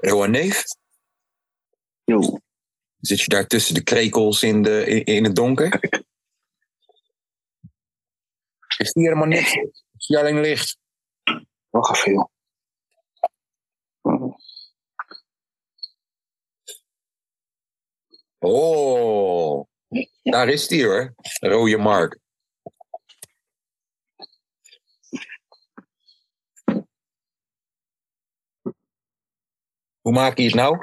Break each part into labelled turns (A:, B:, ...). A: oude neef?
B: Jo.
A: Zit je daar tussen de krekels in, de, in, in het donker? Ik zie helemaal niks. Ik zie alleen licht.
B: Wacht even, joh.
A: Oh, daar is die hoor. Rode Mark. Hoe maak je het nou?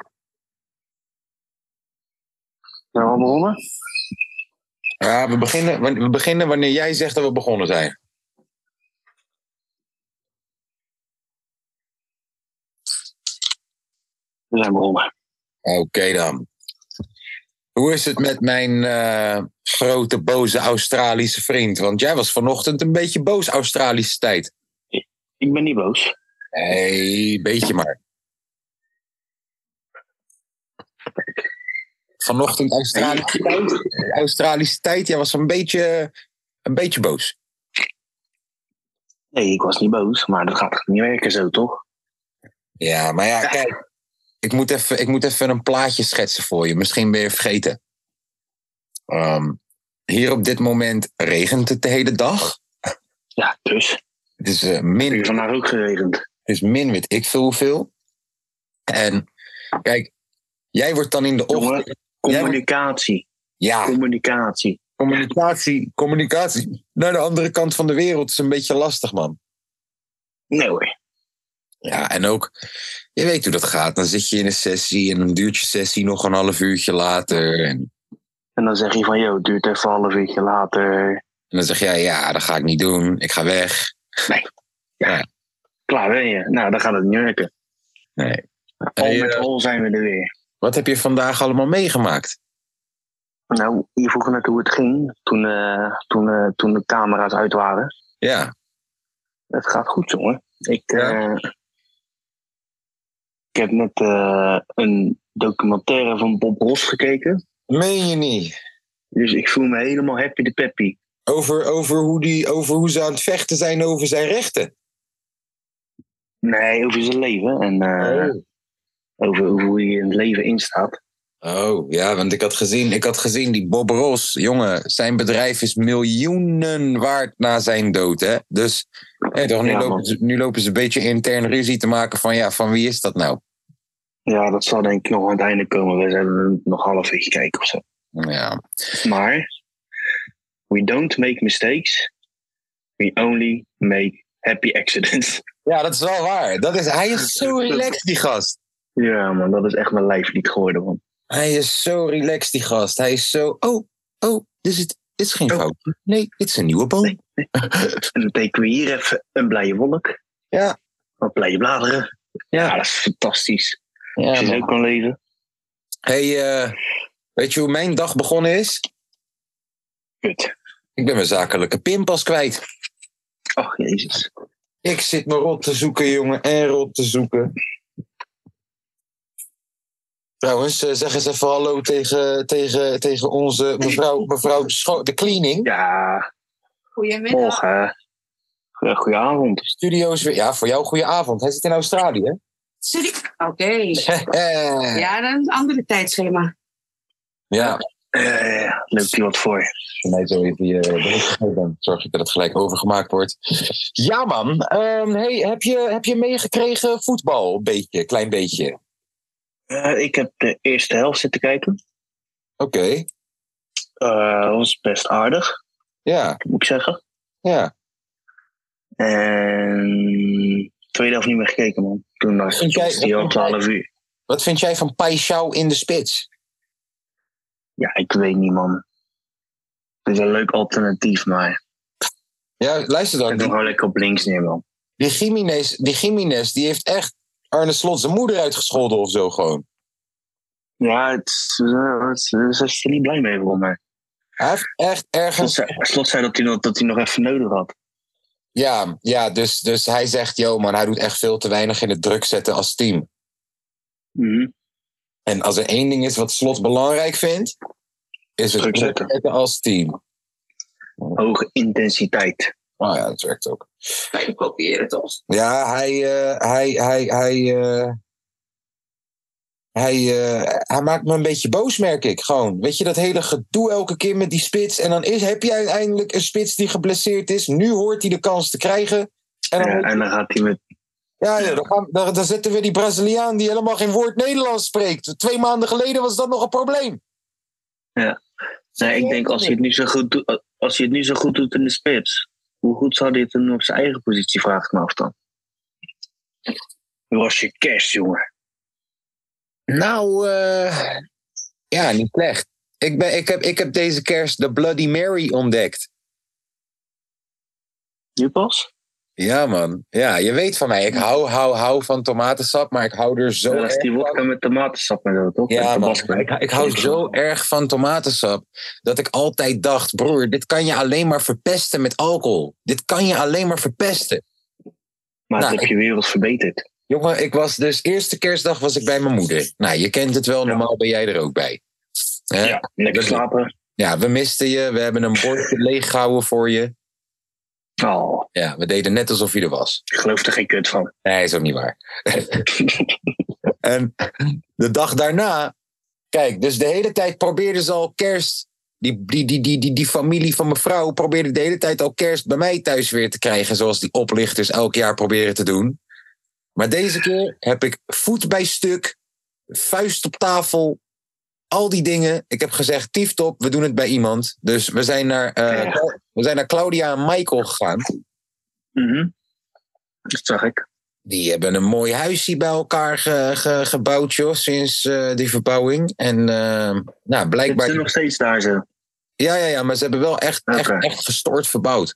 B: Zijn we al begonnen?
A: Ja, we beginnen, we beginnen wanneer jij zegt dat we begonnen zijn.
B: We zijn begonnen.
A: Oké dan. Hoe is het met mijn eh, grote boze Australische vriend? Want jij was vanochtend een beetje boos Australische tijd.
B: Ik ben niet boos.
A: Nee, beetje maar. Vanochtend Australische tijd. Australische tijd, jij was een beetje, een beetje boos.
B: Nee, ik was niet boos, maar dat gaat niet werken zo, toch?
A: Ja, maar ja, kijk. Ik moet even, ik moet even een plaatje schetsen voor je. Misschien ben je vergeten. Ehm, hier op dit moment regent het de hele dag.
B: Ja, dus.
A: Het is eh,
B: Het
A: min
B: is vandaag ook geregend.
A: Dus min weet ik veel hoeveel. En kijk, jij wordt dan in de ochtend.
B: Jongen, communicatie.
A: Ja,
B: Communicatie.
A: communicatie, communicatie naar de andere kant van de wereld is een beetje lastig, man.
B: Nee hoor.
A: Ja, en ook, je weet hoe dat gaat. Dan zit je in een sessie en dan duurt je sessie nog een half uurtje later. En, en
B: En dan zeg je van, joh, het duurt even een half uurtje later.
A: dan zeg jij, ja, dat ga ik niet doen. Ik ga weg.
B: Klaar ben je. Nou, dan gaat het niet werken.
A: Nee.
B: Al
A: Hey,
B: met
A: eh,
B: al zijn we er weer.
A: Wat heb je vandaag allemaal meegemaakt?
B: Nou, je vroeg net hoe het ging toen, eh, toen, eh, toen de camera's uit waren.
A: Ja,
B: Het gaat goed, jongen. Ik,
A: Ja.
B: eh, ik heb net eh, een documentaire van Bob Ross gekeken.
A: meen je niet.
B: Dus ik voel me helemaal happy de peppy.
A: Over, over, hoe die, over hoe ze aan het vechten zijn over zijn rechten.
B: Nee, over zijn leven en eh, over, over hoe hij in het leven instaat.
A: Oh ja, want ik had gezien, ik had gezien die Bob Ross, jongen, zijn bedrijf is miljoenen waard na zijn dood, hè? Dus hè, toch, nu,
B: Ja,
A: lopen
B: man.
A: ze, nu lopen ze een beetje intern ruzie te maken van, ja, van wie is dat nou?
B: Ja, dat zal denk ik nog aan het einde komen. We zullen nog een half uurtje kijken of zo.
A: Ja,
B: Maar we don't make mistakes. We only make happy accidents.
A: ja dat is wel waar. Dat is, hij is zo relaxed, die gast.
B: Ja, man, dat is echt mijn lijflied geworden, man.
A: Hij is zo relaxed, die gast. Hij is zo, oh, oh, dit is, het, dit is geen
B: Oh.
A: fout. Nee, dit is een nieuwe boom.
B: Nee. En dan tekenen we hier even een blije wolk.
A: Ja.
B: Wat blije bladeren.
A: Ja.
B: Ja, dat is fantastisch. Als
A: Ja,
B: je
A: man.
B: zo kan leven.
A: hey, eh, weet je hoe mijn dag begonnen is?
B: Kut.
A: Ik ben mijn zakelijke pinpas kwijt.
B: Ach, Oh, jezus.
A: Ik zit me rot te zoeken, jongen. En rot te zoeken. Trouwens, eh, zeg eens even hallo tegen, tegen, tegen onze mevrouw, mevrouw de, scho- de cleaning.
B: Ja,
C: Goedemiddag.
B: morgen. Eh, Goedenavond.
A: Studio's weer. Ja, voor jou goede avond. Hij zit in Australië.
C: Zit- Oké.
A: ja.
C: Ja, dat is een andere tijdschema.
A: ja.
B: Eh loopt hier wat voor?
A: Nee, zo heeft hij eh, bericht gegeven. Dan Zorg ik dat het gelijk overgemaakt wordt. Ja, man. Ehm, hey, heb, je, heb je meegekregen voetbal? Een beetje, klein beetje.
B: Eh, ik heb de eerste helft zitten kijken.
A: Oké.
B: Eh, dat was best aardig,
A: Ja,
B: moet ik zeggen.
A: ja.
B: En tweede helft niet meer gekeken, man. Toen was
A: Vind jij-
B: was die al
A: vind jij-
B: 12 uur.
A: Wat vind jij van Paixão in de spits?
B: Ja, ik weet niet, man. Het is een leuk alternatief, maar
A: Ja, luister dan.
B: ik heb hem
A: Die,
B: gewoon lekker op links neer, man.
A: die, Gimenez, die Gimenez, die heeft echt Arne Slot zijn moeder uitgescholden of zo gewoon.
B: Ja, het, is- eh, het, is- ze is er niet blij mee voor mij.
A: Hij heeft echt
B: Slot
A: ergens...
B: zei, slot zei dat, hij nog, dat hij nog even nodig had.
A: Ja, ja dus, dus hij zegt, yo man, hij doet echt veel te weinig in het druk zetten als team.
B: Mhm.
A: En als er één ding is wat Slot belangrijk vindt, is het
B: Druk
A: druk
B: zetten.
A: zetten, als team.
B: Hoge intensiteit.
A: Oh ja, dat werkt ook.
C: Wij kopiëren het ons.
A: Ja, hij, eh, hij, hij, hij, eh, Hij, eh, hij maakt me een beetje boos, merk ik gewoon. Weet je, dat hele gedoe elke keer met die spits. En dan is, heb je uiteindelijk een spits die geblesseerd is. Nu hoort hij de kans te krijgen. En dan,
B: Ja, en dan gaat hij met.
A: ja, ja, dan, gaan- dan, dan zetten we die Braziliaan die helemaal geen woord Nederlands spreekt. Twee maanden geleden was dat nog een probleem.
B: Ja. Nee, ik denk als hij het nu zo goed, doet- als hij het nu zo goed doet in de spits, hoe goed zou hij het doen op zijn eigen positie, vraag ik me af dan. Hoe was je cash, jongen?
A: Nou, eh, ja, niet slecht. Ik, ben, ik, heb, ik heb deze kerst de Bloody Mary ontdekt.
B: Nu pas?
A: Ja, man. Ja, je weet van mij. Ik hou, hou, hou van tomatensap, maar ik hou er zo
B: Dat is
A: erg
B: die
A: van.
B: wodka met tomatensap en zo, toch?
A: Ja,
B: Met
A: man.
B: tabasco.
A: Ik, ik hou zo erg van tomatensap dat ik altijd dacht, broer, dit kan je alleen maar verpesten met alcohol. Dit kan je alleen maar verpesten.
B: Maar
A: Nou,
B: dat heb je wereld verbeterd.
A: Jongen, ik was dus eerste kerstdag was ik bij mijn moeder. Nou, je kent het wel, normaal ben jij er ook bij. Hè?
B: Ja, lekker
A: dat-
B: slapen.
A: ja, we misten je, we hebben een bordje leeggehouden voor je.
B: Oh,
A: Ja, we deden net alsof je er was.
B: ik geloof er geen kut van.
A: Nee, is ook niet waar. En de dag daarna, kijk, dus de hele tijd probeerden ze al kerst. Die, die, die, die, die, die familie van mijn vrouw probeerde de hele tijd al kerst bij mij thuis weer te krijgen. Zoals die oplichters elk jaar proberen te doen. Maar deze keer heb ik voet bij stuk, vuist op tafel, al die dingen. Ik heb gezegd, tieftop, we doen het bij iemand. Dus we zijn naar, eh,
B: Ja.
A: we zijn naar Claudia en Michael gegaan.
B: Mhm. Dat zag ik.
A: Die hebben een mooi huisje bij elkaar ge- ge- gebouwd, joh, sinds eh, die verbouwing. En eh, nou,
B: Ik zit
A: blijkbaar...
B: nog steeds daar zo.
A: Ja, ja, ja, maar ze hebben wel echt,
B: Oké.
A: echt, echt gestoord verbouwd.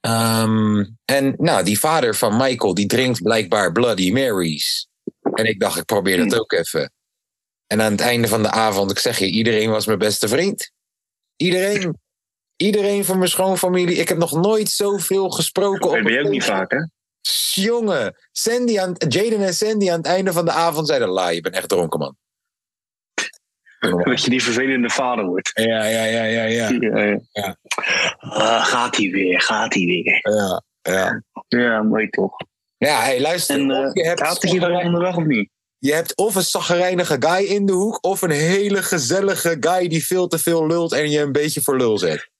A: Ehm, en nou, die vader van Michael, die drinkt blijkbaar Bloody Mary's. En ik dacht, ik probeer
B: Hmm.
A: dat ook even. En aan het einde van de avond, ik zeg je, iedereen was mijn beste vriend. Iedereen. Iedereen van mijn schoonfamilie. Ik heb nog nooit zoveel gesproken.
B: Dat
A: op
B: ben je
A: een
B: ook niet
A: feestje.
B: vaak, hè?
A: Jongen, Sandy aan, Jaden en Sandy aan het einde van de avond zeiden: La, je bent echt dronken, man.
B: Dat je die vervelende vader wordt.
A: Ja, ja, ja, ja, ja.
B: Ja, ja.
A: Ja.
B: Ah, gaat hij weer, gaat hij weer.
A: Ja, ja.
B: Ja, mooi toch.
A: ja hey, luister.
B: En
A: of
B: eh
A: je, hebt
B: gaat hij je wel
A: zagrijn-
B: onderweg of niet?
A: je hebt of een zagrijnige guy in de hoek, of een hele gezellige guy die veel te veel lult en je een beetje voor lul zet.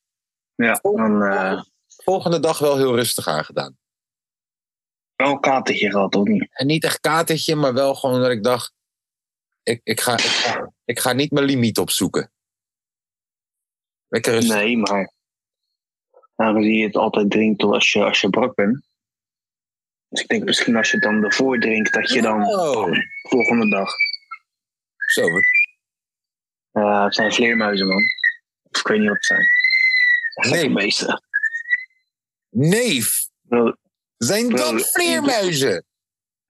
B: Ja, dan eh
A: Volgende dag wel heel rustig aangedaan.
B: wel een katertje gehad, of niet?
A: En niet echt katertje, maar wel gewoon dat ik dacht: ik, ik, ga, ik, ga, ik ga niet mijn limiet opzoeken. Lekker rustig.
B: Nee, maar aangezien je het altijd drinkt als je, als je brak bent. Dus ik denk misschien als je het dan ervoor drinkt, dat je dan
A: Oh,
B: volgende dag...
A: zo, wat
B: Ja, het zijn vleermuizen, man. Of ik weet niet wat het zijn. Echt
A: Nee.
B: Gekke beesten.
A: Neef,
B: Wel,
A: zijn
B: Wel,
A: dat vleermuizen?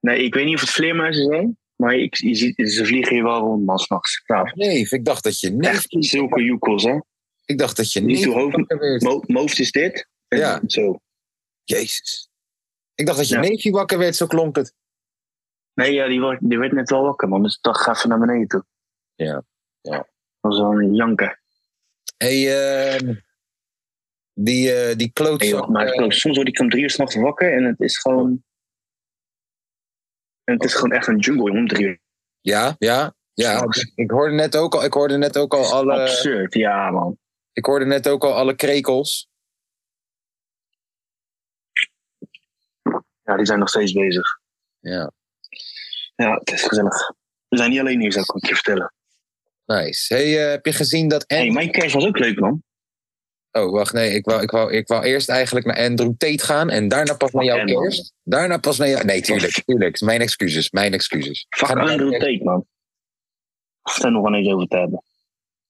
B: Nee, ik weet niet of het vleermuizen zijn, maar ik, je ziet, ze vliegen hier wel rond, man, s'nachts. Ja,
A: Neef, ik dacht dat je neef.
B: echt zulke joekels, hè?
A: Ik dacht dat je
B: Niet
A: neef.
B: uw hoofd-
A: wakker werd.
B: Mo- Mijn hoofd is dit. en
A: Ja.
B: Zo.
A: Jezus. Ik dacht dat je
B: Ja.
A: neefje wakker werd, zo klonk het.
B: Nee, ja, die, werd, die werd net wel wakker, man. Dus ik dacht, ga even naar beneden toe.
A: Ja, ja.
B: Dat was wel een janken.
A: Hé, hey, ehm, die, eh die
B: Nee,
A: klootzak.
B: joh, maar oh,
A: eh,
B: soms word ik om drie uur s'nachts wakker en het is gewoon... En het is gewoon echt een jungle, jongen, om drie uur.
A: ja, ja, ja. Eh,
B: S'nachts.
A: Ik hoorde net ook al, ik hoorde net ook al alle,
B: Absurd, ja, man.
A: ik hoorde net ook al alle krekels.
B: Ja, die zijn nog steeds bezig.
A: Ja,
B: Ja, het is gezellig. We zijn niet alleen hier, zou ik het je vertellen.
A: nice. Hey, eh, heb je gezien dat
B: hey,
A: Andrew...
B: mijn kerst was ook leuk, man.
A: Oh, wacht, nee. Ik wou, ik, wou, ik wou eerst eigenlijk naar Andrew Tate gaan en daarna pas naar jouw
B: Fuck Andrew. Oh,
A: kerst. Daarna pas naar jou... Nee, tuurlijk, tuurlijk. Mijn excuses, mijn excuses.
B: Fuck
A: Ga naar
B: Andrew
A: jouw
B: Tate, man. Of daar nog wel eens over te hebben.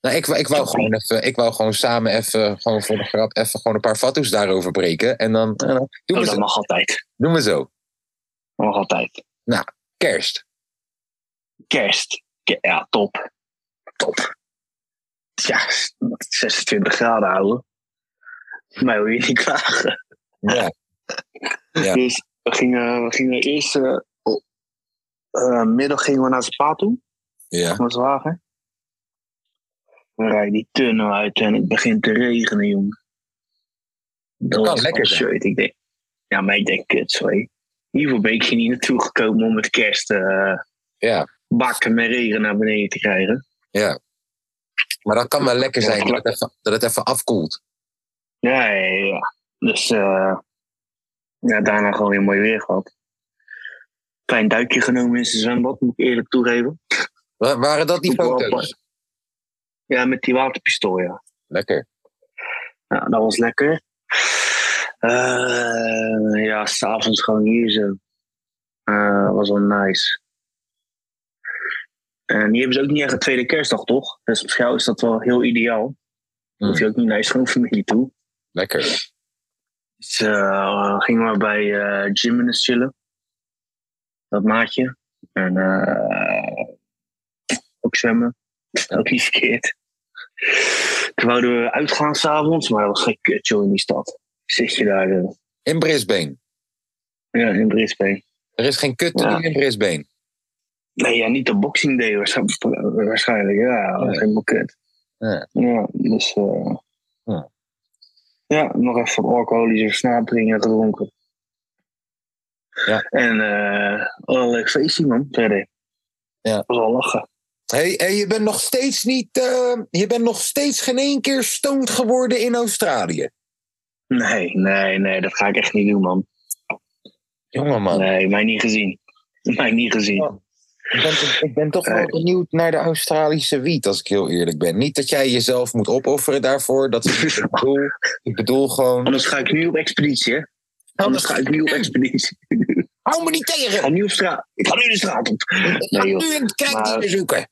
A: Nou, ik, wou- ik, wou gewoon even, ik wou gewoon samen even, gewoon voor de grap, even gewoon een paar fatsoes daarover breken. En dan, eh, doen,
B: Oh,
A: we
B: dat
A: zo,
B: mag altijd.
A: doen we zo.
B: Dat mag altijd.
A: Kerst.
B: kerst. Ke- Ja, top. Top. Ja, 26 graden houden. Mij wil je niet klagen.
A: Ja. Ja.
B: Dus we gingen, we gingen eerst... eh, op- eh, middag gingen we naar zijn pa toe.
A: ja.
B: Mijn zwager. We rijden die tunnel uit en het begint te regenen, jongen.
A: Dat kan
B: was
A: lekker zijn.
B: absurd. Ik denk, ja, maar ik denk, kut, sorry. Hiervoor ben ik hier niet naartoe gekomen om het kerst... eh,
A: Ja.
B: bakken met regen naar beneden te krijgen.
A: Maar dat kan wel lekker
B: Ja,
A: zijn, dat
B: klopt.
A: het even, dat het even afkoelt.
B: Ja, ja, ja, ja. Dus eh, ja, daarna gewoon weer mooi weer gehad. Klein duikje genomen in zijn zwembad, moet ik eerlijk toegeven.
A: Wa- Waren dat die
B: Ook wel
A: foto's?
B: apart. Ja, met die waterpistool, ja.
A: Lekker.
B: Ja, Nou, dat was lekker. Eh, ja, s'avonds gewoon hier zo. Eh, was wel nice. En hier hebben ze ook niet echt een tweede kerstdag, toch? Dus op jou is dat wel heel ideaal. Dan hoef je ook niet naar je schoonfamilie toe.
A: Lekker.
B: Dus eh, gingen we bij eh Jim en chillen. Dat maatje. En eh, ook zwemmen. Ook niet verkeerd. Toen wouden we uitgaan s'avonds, maar dat was geen kut joh in die stad. Zit je daar eh,
A: In Brisbane.
B: ja, in Brisbane.
A: Er is geen kut te
B: Ja.
A: doen in Brisbane.
B: Nee, ja, niet de Boxing Day waarschijnlijk. waarschijnlijk. Ja, dat
A: Nee.
B: is helemaal kut.
A: Ja.
B: Ja, dus... eh,
A: Ja.
B: ja, nog even wat alcoholische snaapdringen gedronken.
A: Ja.
B: En eh wat een leuk feestje, man. Verder.
A: Ja.
B: Dat was wel lachen.
A: Hey, hey, je bent nog steeds niet. eh, je bent nog steeds geen één keer stoned geworden in Australië.
B: Nee, nee, nee, dat ga ik echt niet doen, man.
A: Jongeman.
B: Nee, mij niet gezien. Mij niet gezien.
A: Oh. Ik ben, toch- ik ben toch wel
B: Nee.
A: benieuwd naar de Australische wiet, als ik heel eerlijk ben. Niet dat jij jezelf moet opofferen daarvoor. Dat is niet het bedoel. Ik bedoel gewoon.
B: Anders ga ik nu op expeditie, hè. Anders ga ik nu op expeditie.
A: Hou me niet
B: Ik
A: tegen!
B: ga nu op straat. Ik ga nu de straat op.
A: Ik ga
B: Nee, joh.
A: nu een
B: Maar-
A: kijkje zoeken.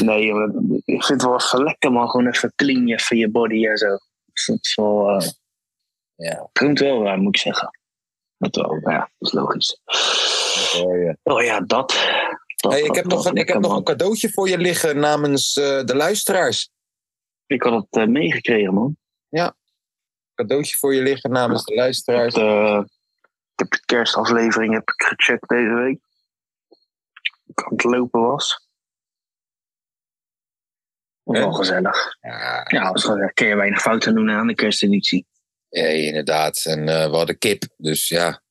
B: Nee, joh, dat- ik vind het wel even lekker, man. Gewoon even clean, even je body en zo. Dus dat is wel... eh,
A: Ja.
B: Komt wel waar, moet ik zeggen. Dat wel, maar ja, dat is logisch. Oh ja, dat. dat
A: Hey, ik
B: dat,
A: heb,
B: dat,
A: nog een, ik heb
B: lekker,
A: nog
B: man.
A: een cadeautje voor je liggen namens eh, de luisteraars.
B: Ik had het eh, meegekregen, man.
A: Cadeautje voor je liggen namens de luisteraars.
B: Het, eh, ik heb de kerstaflevering heb ik gecheckt deze week. Ik aan het lopen was. Was wel
A: Ja.
B: gezellig.
A: Ja,
B: Ja, was gezellig. Kun je weinig fouten doen aan de kersteditie.
A: ja, inderdaad. En eh, we hadden kip, dus ja,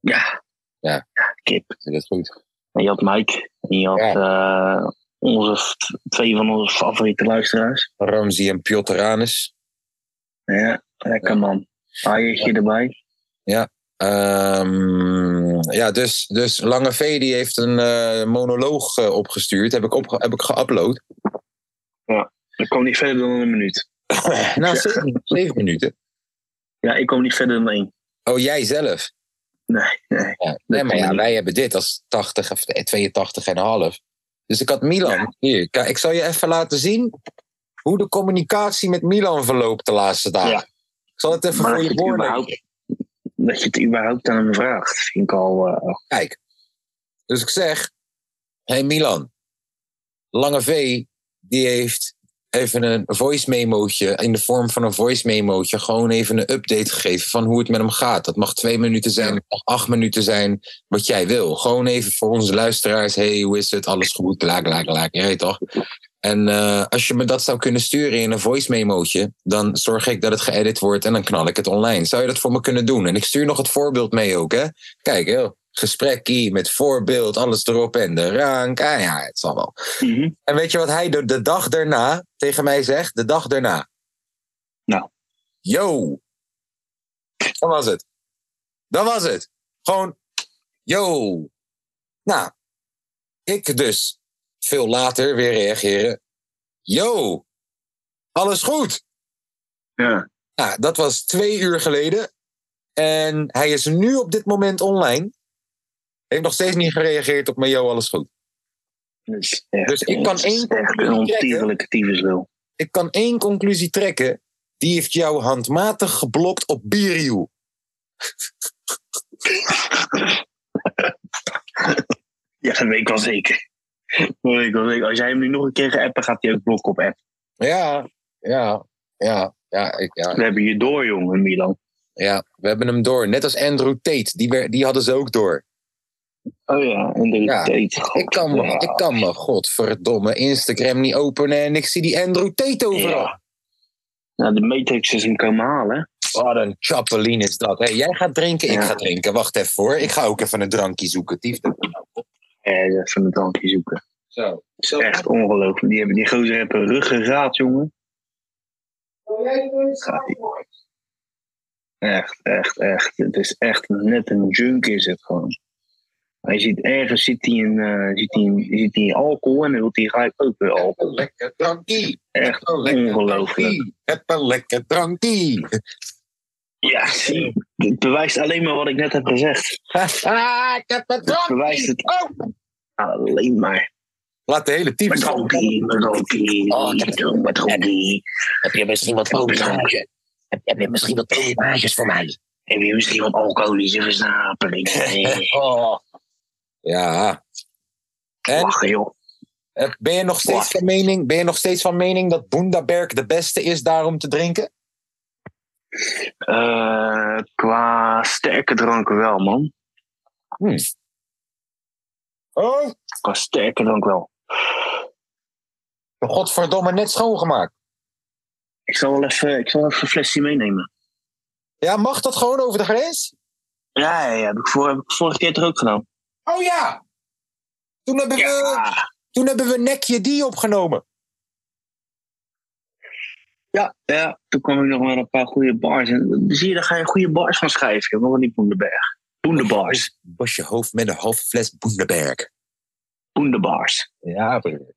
B: Ja.
A: Ja.
B: Kip.
A: dat is goed.
B: En je had Mike. En je had eh, onze, twee van onze favoriete luisteraars.
A: Ramzi en Piotranis.
B: Ja, lekker
A: Ja.
B: man. Aaiertje erbij.
A: Ehm ja, dus, dus Lange V die heeft een eh, monoloog eh, opgestuurd. Heb ik, opge heb ik geüpload.
B: Ik kom niet verder dan een minuut. Nou,
A: Na zeven, zeven minuten.
B: Ja, ik kom niet verder dan één.
A: Oh, jij zelf?
B: Nee, nee.
A: Ja. Nee, maar ja, wij hebben dit als 80 of 82 en een half. Dus ik had Milan. Hier, kijk, ik zal je even laten zien hoe de communicatie met Milan verloopt de laatste dagen.
B: Ja.
A: Ik zal het even
B: Maar
A: voor
B: dat je,
A: je
B: het
A: voorlezen.
B: überhaupt, dat je het überhaupt aan hem vraagt, vind ik al... eh,
A: Kijk. Dus ik zeg, hey Milan, Lange V, die heeft even een voice memootje, in de vorm van een voice memootje, gewoon even een update gegeven van hoe het met hem gaat. Dat mag twee minuten zijn, dat mag acht minuten zijn, wat jij wil. Gewoon even voor onze luisteraars, hey, hoe is het, alles goed, laak, laak, laak, je weet toch? En eh, als je me dat zou kunnen sturen in een voice memootje, dan zorg ik dat het geëdit wordt en dan knal ik het online. Zou je dat voor me kunnen doen? En ik stuur nog het voorbeeld mee ook, hè? Kijk, heel gesprekkie met voorbeeld, alles erop en de rank. Ah ja, het zal wel.
B: Mhm.
A: En weet je wat hij de, de dag daarna tegen mij zegt? De dag daarna.
B: Nou.
A: Yo. Dat was het. Dat was het. Gewoon, yo. Nou, ik dus veel later weer reageren. Yo. Alles goed.
B: Ja.
A: Nou, dat was twee uur geleden. En hij is nu op dit moment online. Heeft nog steeds niet gereageerd op mijn yo, alles goed.
B: Dus, echt,
A: Dus ik kan
B: het is
A: één
B: Echt een
A: conclusie trekken.
B: ontierlijke tyfuslul.
A: Ik kan één conclusie trekken. Die heeft jou handmatig geblokt op Biriu.
B: Ja, dat weet ik wel zeker. Dat weet ik wel zeker. Als jij hem nu nog een keer gaat appen, gaat hij ook blokken op app.
A: Ja, ja, ja, ja, ik, ja,
B: We hebben je door, jongen, Milan.
A: ja. We hebben hem door. Net als Andrew Tate. Die, wer- die hadden ze ook door.
B: Oh ja, en de
A: Ja,
B: tijd.
A: Ik kan me, ik kan me godverdomme Instagram niet openen. En ik zie die Andrew Tate overal.
B: Ja. Nou, de Matrix is hem komen halen. hè.
A: Wat een chapeline is dat. Hey, jij gaat drinken, ik
B: Ja.
A: ga drinken. Wacht even hoor. Ik ga ook even een drankje zoeken. Tief.
B: eh, even een drankje zoeken.
A: Zo.
B: Dat is echt ongelooflijk. Die, hebben, die gozer heeft een ruggengraat, jongen. Echt, echt, echt. Het is echt net een junk is het gewoon. Hij ziet ergens zit hij in, eh, zit hij in, zit hij in alcohol en dan wil hij gelijk ook weer alcohol.
A: lekker Oh, drankie.
B: Echt ongelooflijk.
A: Heb een lekker drankie.
B: Ja, zie. Het bewijst alleen maar wat ik net heb gezegd.
A: Ah, ik heb een drankie.
B: bewijst het.
A: Oh.
B: Alleen maar.
A: Laat de hele team.
B: Met dronkie, met dronkie.
D: Oh, ik heb het.
B: Met dronkie.
D: Heb je misschien wat pokerhaasjes? Heb, heb je misschien wat pokerhaasjes voor mij?
B: Heb je misschien wat alcoholische versnapering? Nee.
A: Oh. Ja. En
B: Lachen, joh.
A: eh, ben je, nog steeds
B: Wacht.
A: van mening, ben je nog steeds van mening dat Bundaberg de beste is daarom te drinken?
B: Eh, qua sterke dranken wel, man.
A: Hm. Oh,
B: Qua sterke drank wel.
A: godverdomme, net schoongemaakt.
B: Ik zal wel even, ik zal wel even een flesje meenemen.
A: Ja, mag dat gewoon over de grens?
B: Ja, ja, ja, heb, ik voor, heb ik vorige keer er ook gedaan.
A: Oh ja! Toen hebben, we,
B: Ja,
A: toen hebben we Nekje Die opgenomen.
B: ja, ja. Toen kwam ik nog met een paar goede bars. En, zie je, daar ga je goede bars van schrijven. joh. Waarom niet Boendeberg? Boendebars.
A: Was je hoofd met een halve fles Bundaberg.
B: Boendebars.
A: Ja, broer.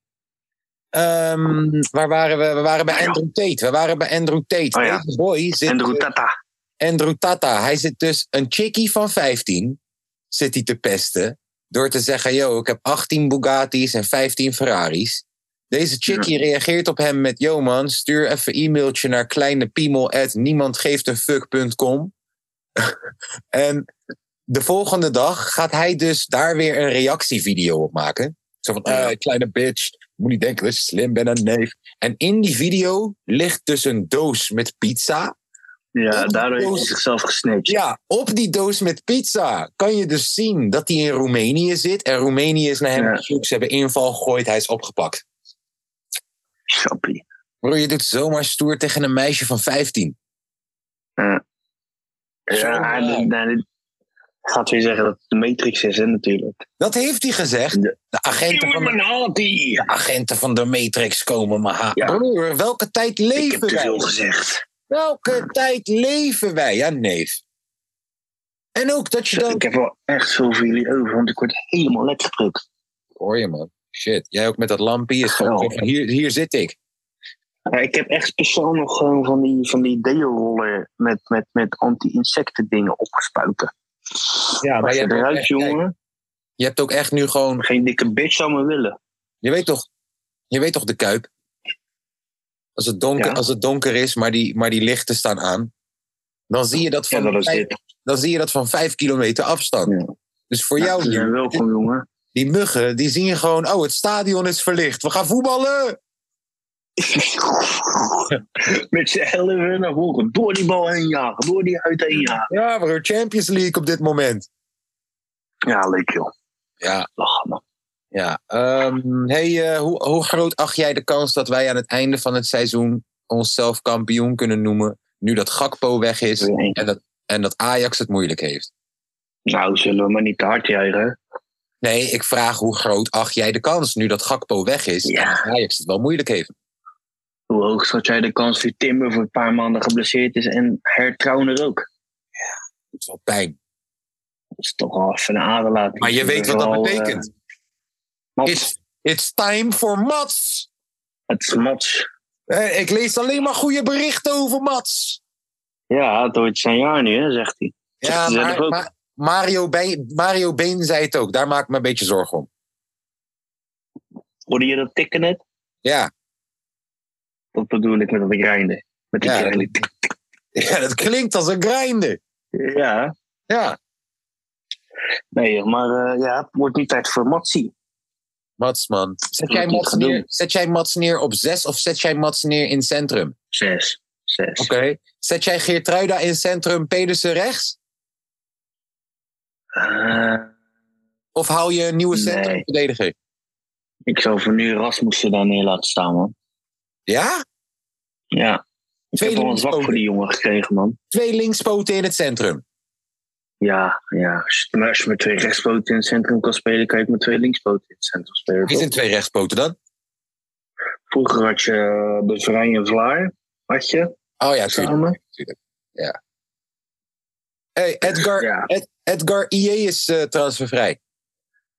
A: Ehm, waar waren we? We waren bij Andrew Tate. We waren bij Andrew Tate.
B: Oh ja.
A: Deze boy zit...
B: En de Roetata.
A: Andrew Tata. Hij zit dus een chickie van 15 zit hij te pesten. Door te zeggen, yo, ik heb 18 Bugatti's en 15 Ferraris. Deze chickie reageert op hem met, yo man, stuur even e-mailtje naar kleinepiemel at niemandgeeftenfuck.com. en de volgende dag gaat hij dus daar weer een reactievideo op maken. Zo van, eh, kleine bitch, moet niet denken dat je slim bent en neef. En in die video ligt dus een doos met pizza.
B: Ja, daardoor heeft hij zichzelf gesnitcht.
A: Ja, op die doos met pizza kan je dus zien dat hij in Roemenië zit. En Roemenië is naar hem
B: Ja.
A: op zoek. Ze hebben inval gegooid, hij is opgepakt.
B: Sappie.
A: Bro, je doet zomaar stoer tegen een meisje van 15. Zo,
B: Ja, en dan- dan- gaat weer zeggen dat het de Matrix is, hè, natuurlijk.
A: Dat heeft hij gezegd.
B: De-
A: De agenten van de,
B: Illuminati!
A: de agenten van de Matrix komen me halen.
B: Ja.
A: Broer, welke tijd
B: Ik heb
A: leven
B: te veel
A: wij?
B: gezegd.
A: Welke tijd leven wij? Ja, neef. En ook dat je dan...
B: Ik heb wel echt veel voor jullie over, want ik word helemaal lek gedrukt.
A: Hoor je, man. Shit, jij ook met dat lampje is gewoon...
B: Geweldig.
A: van, Hier, hier zit ik.
B: Ja, ik heb echt speciaal nog gewoon van die, van die deo-rollen met, met, met anti-insecten dingen opgespuiten.
A: Ja, maar
B: Als
A: je
B: je
A: hebt ook
B: eruit,
A: echt- kijk,
B: jongen,
A: Je hebt ook echt nu gewoon
B: geen dikke bitch zou me willen.
A: Je weet toch, je weet toch de Kuip? Als het donker,
B: Ja.
A: als het donker is, maar die, maar die lichten staan aan. Dan zie je dat
B: Ja,
A: van,
B: dat is
A: vijf,
B: dit.
A: dan zie je dat van vijf kilometer afstand.
B: Ja.
A: Dus voor jou,
B: Ja,
A: nu,
B: welkom, jongen.
A: die muggen, die zien gewoon... Oh, het stadion is verlicht. We gaan voetballen!
B: Met z'n elfen naar voren. Door die bal heen jagen, door die uit heen jagen.
A: Ja, bro, Champions League op dit moment.
B: Ja, leuk joh.
A: Ja,
B: Lachen man.
A: ja. Ehm, hey, eh, hoe, hoe groot acht jij de kans dat wij aan het einde van het seizoen... onszelf kampioen kunnen noemen, nu dat Gakpo weg is...
B: Weer één.
A: en dat, en dat Ajax het moeilijk heeft?
B: Nou, zullen we maar niet te hard juichen.
A: Nee, ik vraag hoe groot acht jij de kans nu dat Gakpo weg is
B: Ja.
A: en Ajax het wel moeilijk heeft.
B: Hoe hoog schat jij de kans dat Timber voor een paar maanden geblesseerd is en hertrouwen er ook?
A: Het is wel pijn.
B: Dat is toch wel even een aderlating.
A: Maar je weet wat dat
B: Vooral, eh,
A: betekent.
B: Mats.
A: It's, it's time for Mats.
B: Het is Mats.
A: Eh, ik lees alleen maar goede berichten over Mats.
B: Ja, het wordt zijn jaar nu, hè, zegt hij.
A: Ja,
B: Zegt hij zelf
A: maar,
B: ook.
A: maar Mario, Been, Mario Been zei het ook. Daar maak ik me een beetje zorgen om.
B: Hoorde je dat tikken net?
A: Ja,
B: Dat bedoel ik met dat grinden. Met die
A: Ja.
B: grinden.
A: ja dat klinkt als een grinder.
B: Ja,
A: Ja,
B: nee, maar eh, ja, het wordt nu tijd voor Matsie.
A: Mats man. Zet
B: Dat
A: jij
B: moet ik
A: Mats,
B: gaan doen.
A: neer, zet jij Mats neer op zes of zet jij Mats neer in centrum?
B: Zes. Zes.
A: Oké. Zet jij Geertruida in centrum, Pedersen rechts?
B: Eh,
A: Of hou je een nieuwe
B: Nee.
A: centrumverdediger?
B: ik zou voor nu Rasmussen daar neer laten staan, man.
A: Ja?
B: Ja. Ik
A: Twee
B: heb al een zwak
A: linkspoten.
B: voor die jongen gekregen, man.
A: Twee linkspoten in het centrum.
B: Ja, ja. Maar als je met twee rechtspoten in het centrum kan spelen, kan je ook met twee linkspoten in het centrum spelen.
A: Wie
B: toch?
A: zijn twee rechtspoten dan?
B: Vroeger had je eh, Bevrij en Vlaar, had je,
A: Oh ja, tuurlijk.
B: samen.
A: Hey, Edgar,
B: Ja,
A: Edgar IE is eh, transfervrij.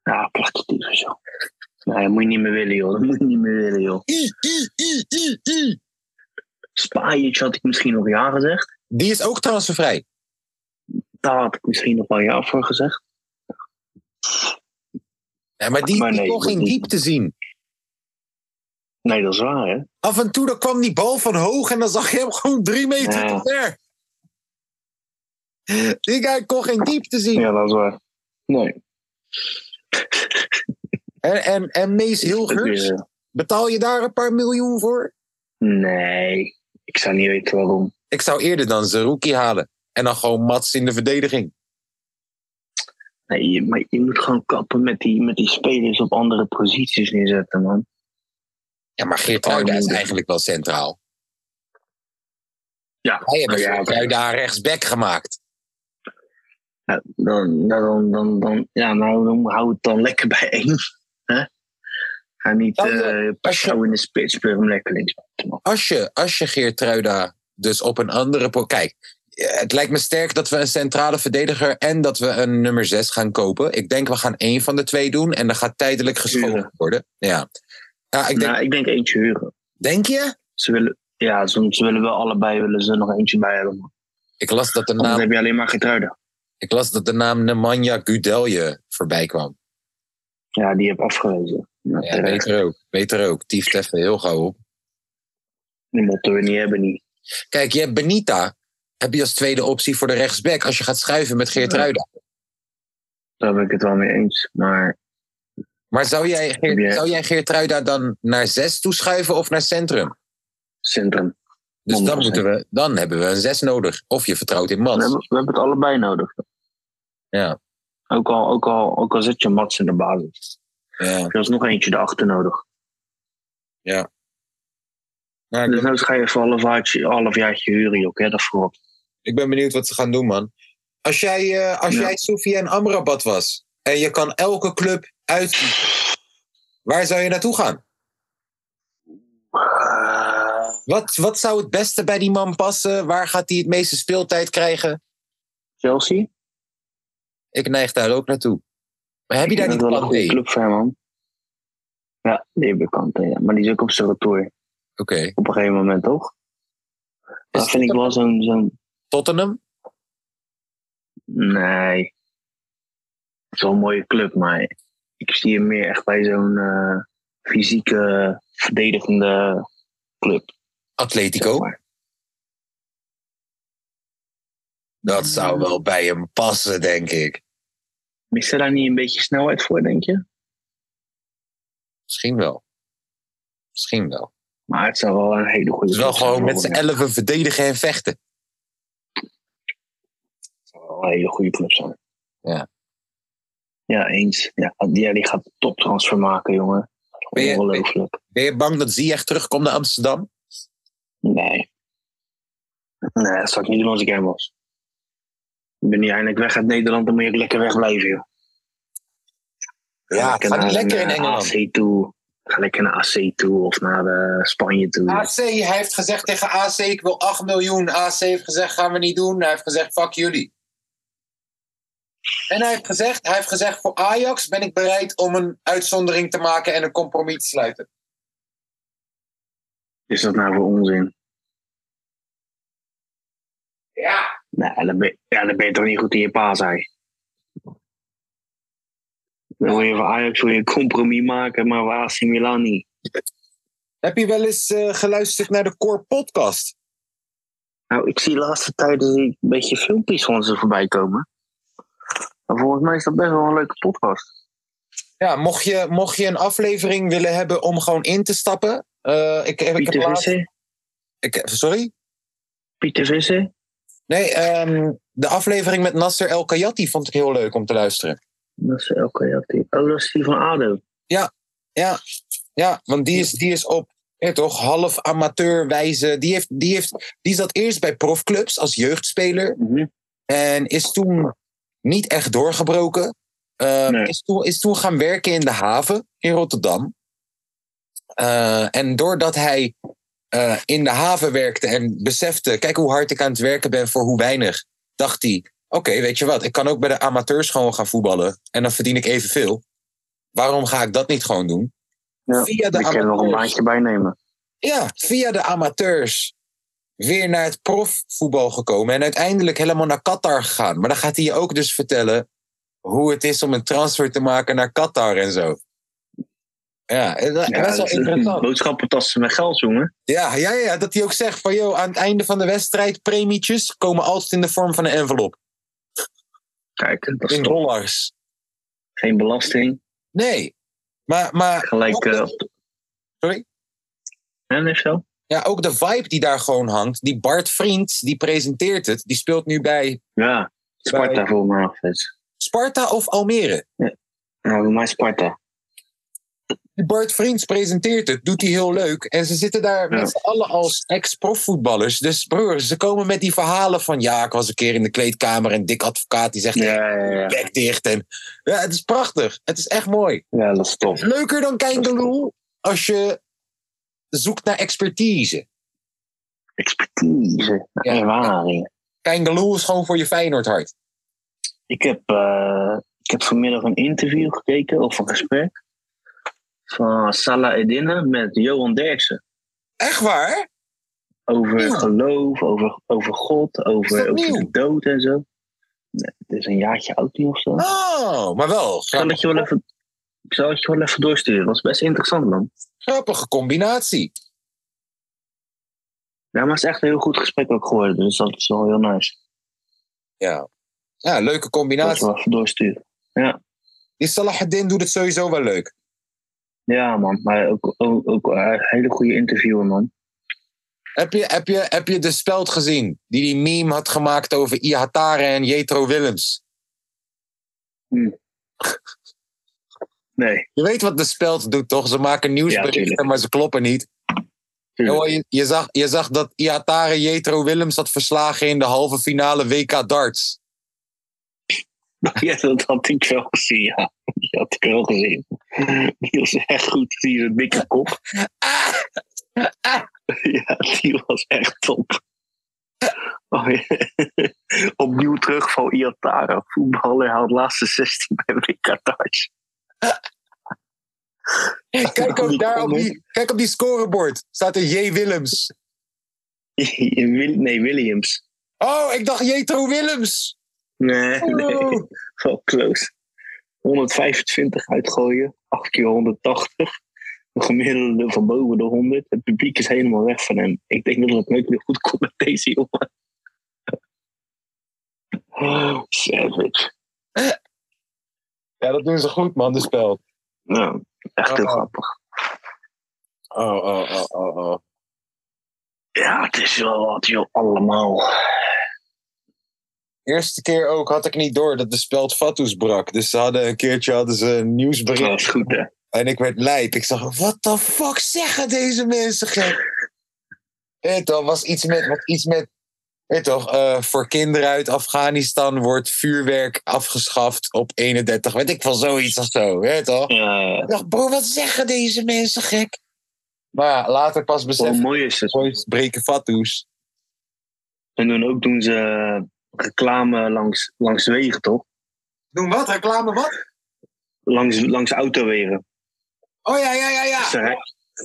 B: ja prachtig tyfus, joh. Nee, dat moet je niet meer willen, joh. Dat moet je niet meer willen, joh.
A: I, I, I, I, I.
B: Spajic had ik misschien nog ja gezegd.
A: Die is ook transfervrij.
B: Daar had ik misschien nog wel ja voor gezegd.
A: Ja, maar die
B: Maar
A: die
B: nee,
A: kon geen
B: die-
A: diepte zien.
B: Nee, dat is waar, hè?
A: Af en toe dan kwam die bal van hoog en dan zag je hem gewoon drie meter
B: Ja.
A: te ver. Die guy kon geen diepte zien.
B: Ja, dat is waar. Nee.
A: En, en, en Mees
B: Dat is,
A: Hilgers,
B: eh,
A: betaal je daar een paar miljoen voor?
B: nee, ik zou niet weten waarom.
A: Ik zou eerder dan Zerouki halen. En dan gewoon Mats in de verdediging.
B: Nee, je- maar je moet gewoon kappen met die, met die spelers op andere posities neerzetten, man.
A: Ja, maar Geert Ruida is
B: Armoede.
A: eigenlijk wel centraal.
B: Ja,
A: Hij heeft
B: ja,
A: Geert
B: maar-
A: Ruida rechtsback gemaakt.
B: Ja, dan, dan, dan, dan, ja, nou, dan hou het dan lekker bij één. hè? Ga niet
A: Ja,
B: eh
A: ja.
B: jou in de spits, speel hem lekker links.
A: als je, als je Geertruida dus op een andere... po- Kijk, eh, het lijkt me sterk dat we een centrale verdediger en dat we een nummer 6 gaan kopen. Ik denk we gaan één van de twee doen en dan gaat tijdelijk geschoven
B: Huren.
A: worden. Ja. ja ik denk,
B: Nou, ik denk eentje huren.
A: denk je?
B: Ze willen, ja, ze, ze willen wel allebei willen ze nog eentje bij hebben. man.
A: Ik las dat de
B: Anders
A: naam,
B: heb je alleen maar Getruida.
A: ik las dat de naam Nemanja Gudelje voorbij kwam.
B: Ja, die heb afgewezen. eh, Ja,
A: Ja,
B: terecht.
A: weet er ook. Weet er ook. Tief het even heel gauw op.
B: Die moeten we niet hebben, niet.
A: Kijk, je hebt Benita. Heb je als tweede optie voor de rechtsback als je gaat schuiven met Geertruida.
B: Daar ben ik het wel mee eens. Maar
A: Maar zou jij, Geert-
B: Ja.
A: zou jij Geertruida dan naar 6 toeschuiven of naar centrum?
B: centrum.
A: Dus dan,
B: 100%.
A: moeten we, dan hebben we een 6 nodig. Of je vertrouwt in
B: We
A: Mats.
B: hebben, we hebben het allebei nodig.
A: Ja.
B: Ook al, ook al, ook al zit je Mats in de basis.
A: Ja.
B: Er is nog eentje erachter nodig.
A: Maar ik,
B: Dus
A: ben,
B: nou ga je even een halfjaartje, halfjaartje huren, joh. Hè, dat voorop.
A: ik ben benieuwd wat ze gaan doen, man. Als jij, eh, als
B: Ja.
A: jij Sofia en Amrabat was en je kan elke club uitkiezen, waar zou je naartoe gaan?
B: Ah.
A: Wat, wat zou het beste bij die man passen? Waar gaat hij het meeste speeltijd krijgen?
B: Chelsea?
A: Ik neig daar ook naartoe. Maar heb je daar
B: dat
A: niet
B: is wel
A: plan
B: een
A: B?
B: goede
A: Oké.
B: club voor hem, man. Ja, die heb ik al, ja. Maar die is ook op zijn retour. Op een gegeven moment, toch? Dat
A: Is
B: vind ik wel zo'n... zo'n
A: Tottenham?
B: nee. Het is wel een mooie club, maar ik zie hem meer echt bij zo'n eh, fysieke, verdedigende club. zeg
A: Atletico?
B: maar.
A: Dat zou wel bij hem passen, denk ik.
B: Mist er daar niet een beetje snelheid voor, denk je?
A: Misschien wel. Misschien wel.
B: Maar het zou wel een hele goede
A: Dus wel
B: club zijn,
A: gewoon met
B: hoor.
A: z'n elfen verdedigen en vechten.
B: zou wel een hele goede club zijn.
A: Ja.
B: Ja, eens. Ja, die, ja, die gaat een toptransfer maken, jongen.
A: Ben je-
B: Ongelooflijk.
A: Ben je bang dat Ziyech terugkomt naar Amsterdam?
B: Nee. Nee, dat zou ik niet doen als ik hem was. Ik ben nu eindelijk weg uit Nederland, dan moet je ook lekker wegblijven, joh.
A: Ja, ga niet lekker in Engeland.
B: AC toe. Ga lekker naar AC toe of naar eh, Spanje toe.
A: AC, hij heeft gezegd tegen AC, ik wil 8 miljoen. AC heeft gezegd, gaan we niet doen. Hij heeft gezegd, fuck jullie. En hij heeft gezegd, hij heeft gezegd voor Ajax ben ik bereid om een uitzondering te maken en een compromis te sluiten.
B: Is dat nou voor onzin?
A: Ja.
B: Nee, dan ben, je- ja, dan ben je toch niet goed in je paasei. Dan wil je voor Ajax wil je een compromis maken, maar waar AC Milan niet?
A: Heb je wel eens eh, geluisterd naar de Core podcast?
B: Nou, ik zie de laatste tijd een beetje filmpjes van ze voorbij komen. Maar volgens mij is dat best wel een leuke podcast.
A: Ja, mocht je, mocht je een aflevering willen hebben om gewoon in te stappen. eh, ik, ik, heb
B: Pieter
A: laatst,
B: Visser?
A: ik, sorry?
B: Pieter Visser?
A: Nee, ehm, de aflevering met Nasser El Kayati vond ik heel leuk om te luisteren.
B: Dat is elke Oh, dat is die van ADO.
A: Ja, want die is, die is op ja, toch, half amateurwijze. Die, heeft,
B: Mhm.
A: die, heeft, die zat eerst bij profclubs als jeugdspeler. En is toen niet echt doorgebroken. Eh,
B: Nee.
A: is, toen, is toen gaan werken in de haven in Rotterdam. Eh, en doordat hij eh, in de haven werkte en besefte... kijk hoe hard ik aan het werken ben voor hoe weinig... dacht hij, oké, weet je wat... ik kan ook bij de amateurs gewoon gaan voetballen... en dan verdien ik evenveel. Waarom ga ik dat niet gewoon doen?
B: Ja,
A: Via de
B: Ik kan er nog een
A: amateurs
B: baantje bij nemen.
A: ja, via de amateurs weer naar het profvoetbal gekomen. En uiteindelijk helemaal naar Qatar gegaan. Maar dan gaat hij je ook dus vertellen hoe het is om een transfer te maken naar Qatar en zo. Ja, en dat-
B: Ja,
A: best wel
B: dat is een
A: interessant.
B: boodschappentas met geld, jongen.
A: Ja, ja, ja, dat hij ook zegt van, joh, aan het einde van de wedstrijd, premietjes komen altijd in de vorm van een envelop.
B: Kijk, dat is
A: In
B: top.
A: dollars.
B: Geen belasting.
A: Nee. Maar, maar
B: Gelijk. eh,
A: Sorry?
B: En is zo?
A: ja, ook de vibe die daar gewoon hangt. Die Bart Vriend, die presenteert het. Die speelt nu bij
B: Ja, Sparta
A: Bij-
B: voor me af. is.
A: Sparta of Almere.
B: Nou, doe maar Sparta.
A: Bart Vriends presenteert het, doet hij heel leuk. En ze zitten daar
B: Ja.
A: met z'n allen als ex-profvoetballers. Dus broer, ze komen met die verhalen van... ja, ik was een keer in de kleedkamer en dik advocaat die zegt... "Hey,
B: Ja, ja, ja.
A: bek dicht. En, ja, het is prachtig. Het is echt mooi.
B: Ja, dat is tof.
A: Leuker dan Kijngeloel als je zoekt naar expertise.
B: Expertise,
A: Ja.
B: ervaring.
A: Kijngeloel is gewoon voor je Feyenoord hart.
B: Ik heb, eh, ik heb vanmiddag een interview gekeken, of een gesprek, van Salah Edinne met Johan Derksen.
A: Echt waar?
B: Over
A: Nieuw.
B: geloof, over, over God,
A: dat
B: over, over de
A: nieuw?
B: dood en zo. Nee, het is een jaartje oud nu of zo.
A: Oh, maar wel.
B: Ik zal
A: Grappig,
B: het je wel even, ik zal het je wel even doorsturen. Dat was best interessant, man.
A: grappige combinatie.
B: Ja, maar het is echt een heel goed gesprek ook geworden. Dus dat is wel heel nice.
A: Ja, ja leuke
B: Ik zal het je
A: combinatie.
B: wel even doorsturen.
A: Die Salahuddin doet het sowieso wel leuk.
B: Ja, man. Maar ook, ook, ook een hele goede interviewer, man.
A: Heb je, heb, je, heb je de speld gezien? Die die meme had gemaakt over Ihatare en Jetro Willems.
B: Nee.
A: Je weet wat de speld doet, toch? Ze maken nieuwsberichten,
B: tuurlijk.
A: maar ze kloppen niet.
B: tuurlijk.
A: Joh, je, je, zag, je zag dat Ihatare Jetro Willems had verslagen in de halve finale WK darts.
B: Ja, dat had ik wel gezien, ja. Die had ik wel gezien. Die was echt goed. Die is een dikke kop.
A: Ah!
B: Ja, die was echt top. Oh, ja. Opnieuw terugval Iatara. Voetballer haalt laatste 16 bij WK Darts.
A: Kijk ook daar op die, kijk op die scorebord. Staat er J. Willems.
B: Wil- Nee, Williams.
A: Oh, ik dacht Jetro Willems.
B: Nee, nee.
A: Oh.
B: Wel close. 125 uitgooien. 8 keer 180. Een gemiddelde van boven de 100. Het publiek is helemaal weg van hem. Ik denk dat het nooit meer goed komt met deze jongen. Oh, savage.
A: Ja, dat doen ze goed, man, de speld.
B: Nou, echt heel
A: Oh.
B: grappig.
A: Oh, oh, oh, oh, oh.
B: Ja, het is wel wat, joh. Allemaal.
A: Eerste keer ook had ik niet door dat de speld Fatus brak. Dus ze hadden een keertje hadden ze een
B: Dat
A: nieuwsbericht.
B: is goed, hè?
A: En ik werd lijp. Ik zag, wat de fuck zeggen deze mensen gek? Het was iets met, was iets met weet toch, eh, voor kinderen uit Afghanistan wordt vuurwerk afgeschaft op 31. Weet ik van zoiets of zo, weet toch?
B: Eh,
A: Ik dacht, bro, wat zeggen deze mensen gek? Maar ja, later pas
B: hoe
A: beseffen,
B: mooi is het?
A: boys breken Fatus.
B: En dan ook doen ze eh, reclame langs, langs wegen, toch?
A: Doen wat? Reclame wat?
B: Langs, langs autowegen.
A: Oh ja, ja, ja, ja.
B: Dus Ze rij-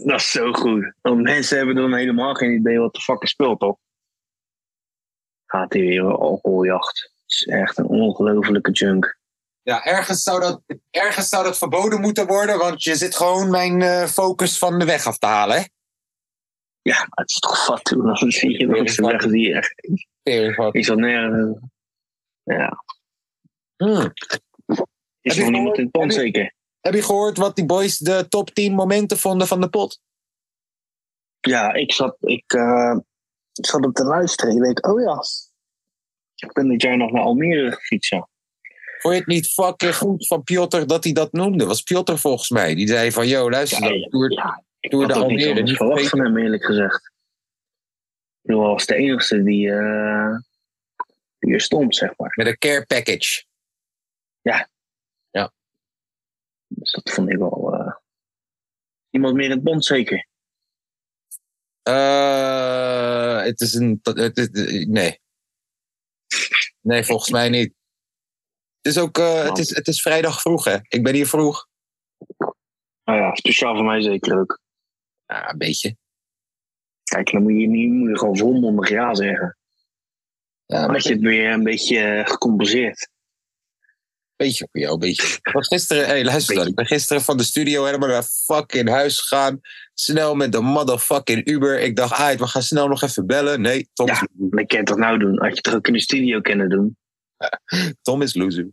B: Dat is zo goed. Want mensen hebben dan helemaal geen idee wat de fuck er speelt, toch? Gaat hier weer een alcoholjacht. Het is echt een ongelofelijke junk.
A: Ja, ergens zou, dat, ergens zou dat verboden moeten worden, want je zit gewoon mijn eh, focus van de weg af te halen. hè?
B: Ja, maar het is toch fat toen. Dan zie je langs de weg die echt... Is dat nergens... Ja.
A: Hmm.
B: Is
A: Heb
B: nog
A: je
B: niemand in het pand
A: heb
B: zeker?
A: Heb je gehoord wat die boys de top 10 momenten vonden van de pot?
B: Ja, ik zat, ik, eh, ik zat op te luisteren. Ik denk, oh ja. Ik ben dit jaar nog naar Almere gefietst, ja.
A: Vond je het niet fucking goed van Piotr dat hij dat noemde? Was Piotr volgens mij. Die zei van, yo, luister,
B: Ja,
A: dan, Tour,
B: ja.
A: Tour
B: Ik
A: de
B: had ook niks
A: Almere.
B: anders
A: niet
B: verwacht
A: weten-
B: van hem, eerlijk gezegd. Ik bedoel, hij was de enige die, eh, die er stond, zeg maar.
A: Met een care package.
B: Dus dat vond ik wel. eh, Iemand meer in het bond zeker?
A: Eh, het is een. het is- nee. Nee, volgens mij niet. Het is ook. eh, het, is, het is vrijdag vroeg, hè? Ik ben hier vroeg.
B: Nou ja, speciaal voor mij zeker ook.
A: Ja, een beetje.
B: Kijk, dan moet je, niet, moet je gewoon volmondig ja zeggen.
A: Ja,
B: Dan
A: een
B: had je het weer een beetje eh, gecompenseerd.
A: beetje voor jou, een beetje. Ik was gisteren. Hé, hey, luister dan. Ik ben gisteren van de studio helemaal naar fucking huis gegaan. Snel met de motherfucking Uber. Ik dacht, ah, we gaan snel nog even bellen. Nee, Tom, is,
B: Ja. Dat kan je toch nou doen? Had je het ook in de studio kunnen doen?
A: Tom is loser.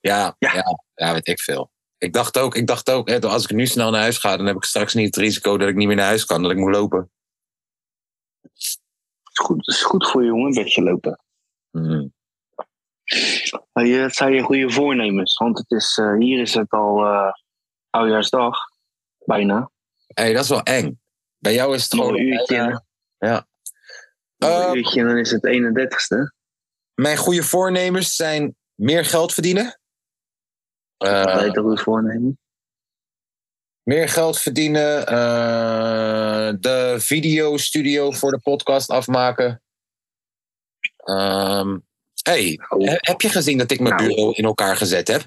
A: Ja, ja.
B: Ja.
A: ja, weet ik veel. Ik dacht ook, ik dacht ook, hè, als ik nu snel naar huis ga, dan heb ik straks niet het risico dat ik niet meer naar huis kan, dat ik moet lopen.
B: Dat is goed, dat is goed voor je jongen, een beetje lopen.
A: Hmm.
B: Maar je- Het zijn je goede voornemens, want het is, eh, hier is het al eh oudjaarsdag, bijna.
A: hey, dat is wel eng. Bij jou is het
B: Nog
A: gewoon... Eh,
B: een uurtje,
A: ja.
B: nog een
A: Eh,
B: uurtje en dan is het 31ste.
A: Mijn goede voornemens zijn meer geld verdienen.
B: Dat
A: Eh,
B: heet een goed voornemen.
A: meer geld verdienen. eh, de videostudio voor de podcast afmaken. Ehm, hey,
B: Oh,
A: he- heb je gezien dat ik mijn
B: Nou.
A: bureau in elkaar gezet heb?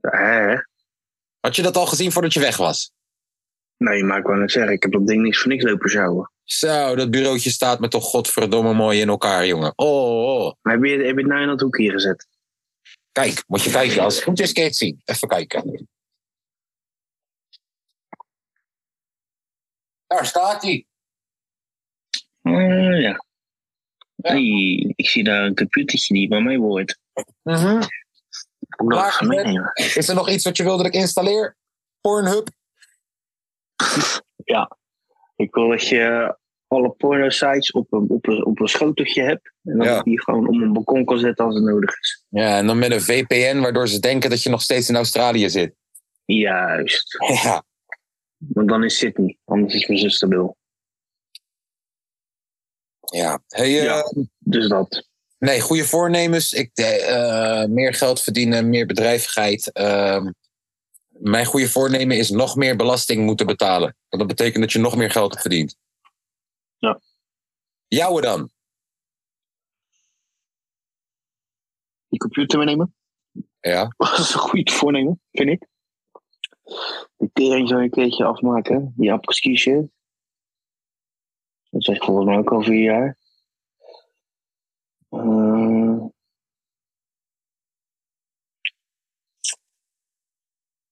B: hè?
A: Had je dat al gezien voordat je weg was?
B: Nee, maar ik wou net zeggen, ik heb dat ding niks voor niks lopen sjouwen.
A: Zo, dat bureautje staat me toch godverdomme mooi in elkaar, jongen. Oh, oh.
B: Maar heb je, heb je het nou in dat hoekje gezet?
A: Kijk, moet je kijken. Als het goed is, kun je het zien. Even kijken. Daar staat hij.
B: Eh, ja.
A: Ja.
B: Hey, ik zie daar een computertje die bij mij hoort. Hoe dat
A: Waar
B: gaan
A: is het?
B: meenemen?
A: Is er nog iets wat je wil dat ik installeer? Pornhub?
B: Ik wil dat je alle porno-sites op een, op, een, op een schoteltje hebt. En dat
A: Ja.
B: ik die gewoon om een balkon kan zetten als het nodig is.
A: Ja, en dan met een VPN, waardoor ze denken dat je nog steeds in Australië zit.
B: Juist.
A: Ja.
B: Want dan is Sydney. Anders is mijn zus te bil.
A: ja. Hey, eh,
B: Ja. Dus dat.
A: Nee, goede voornemens. Ik, eh, eh, meer geld verdienen, meer bedrijvigheid. Ehm, mijn goede voornemen is nog meer belasting moeten betalen. Want dat betekent dat je nog meer geld verdient.
B: Ja.
A: Jouwe dan?
B: Die computer meenemen.
A: Ja.
B: Dat is een goed voornemen, vind ik. Die tering zou je een keertje afmaken. Die apres-ski shit. Dat zeg ik volgens mij ook al vier jaar. Eh,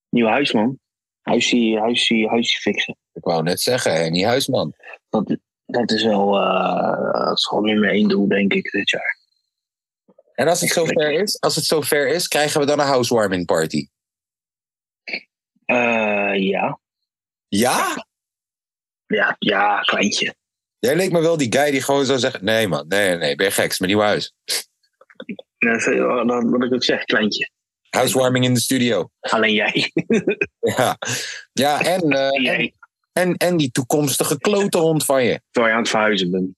B: Nieuw huis, man. Huisie, huisie, huisie fixen.
A: Ik wou net zeggen, Henny Huisman.
B: Dat, dat is wel... eh, dat is gewoon nummer één doel, denk ik, dit jaar.
A: En als het zover is, als het zover is krijgen we dan een housewarming party.
B: Eh, ja.
A: Ja?
B: Ja, ja, kleintje.
A: Jij leek me wel die guy die gewoon zou zeggen... Nee man, nee, nee, nee, ben je gek, is mijn nieuw huis.
B: Nou, zo- wat- wat ik ook zeg, kleintje.
A: Housewarming in de studio.
B: Alleen jij.
A: Ja, ja en, eh, en,
B: jij
A: en, en die toekomstige klote hond van je.
B: terwijl je aan het verhuizen bent.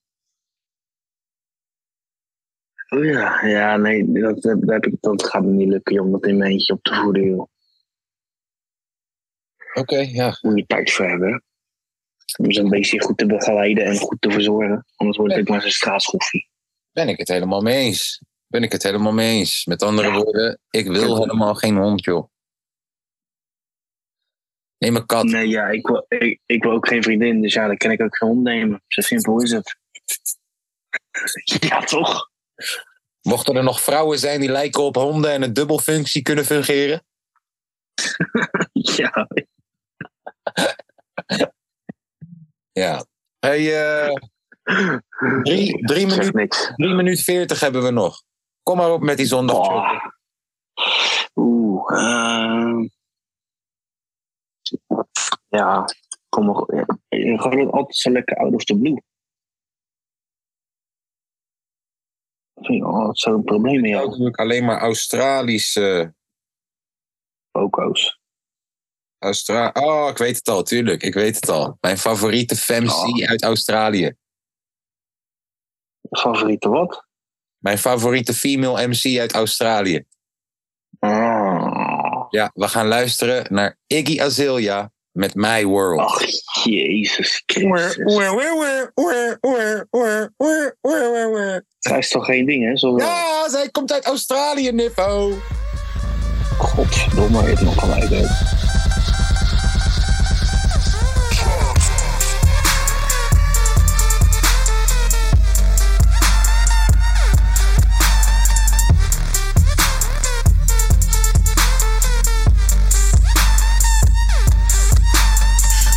B: Oh ja, ja, nee, dat, dat, heb ik, dat gaat me niet lukken om dat in mijn eentje op te voeden, joh.
A: Oké, ja.
B: Moet je tijd voor hebben. Om zo'n beestje goed te begeleiden en goed te verzorgen. Anders wordt het ook maar zo'n straatschoffie.
A: Ben ik het helemaal mee eens. Ben ik het helemaal mee eens. Met andere woorden, ik wil helemaal geen hond, joh. Neem een kat.
B: Nee, ja, ik wil, ik, ik wil ook geen vriendin, dus ja, dan kan ik ook geen hond nemen. Zo simpel is het. Ja, toch?
A: Mochten er nog vrouwen zijn die lijken op honden en een dubbelfunctie kunnen fungeren?
B: Ja.
A: Ja. Hey, eh, drie, drie,
B: Zeg
A: minuut,
B: niks.
A: drie minuut veertig hebben we nog. Kom maar op met die zondag.
B: Oh. Oeh. ehm. ja, kom maar. go- ja, Je gaat het altijd zo lekker out of the blue. Dat vind ik altijd zo'n probleem met
A: Ik
B: jou.
A: natuurlijk alleen maar eh, Australische...
B: Foco's.
A: Austra oh, ik weet het al, tuurlijk. Ik weet het al. Mijn favoriete femc uit Australië.
B: Favoriete wat?
A: Mijn favoriete female MC uit Australië. Ja, we gaan luisteren naar Iggy Azalea met My World.
B: Ach, Oh, jezus Christus. Zij is toch geen ding, hè? Zo
A: Ja, zij komt uit Australië, Niffo.
B: Godverdomme, het nog gelijk uit.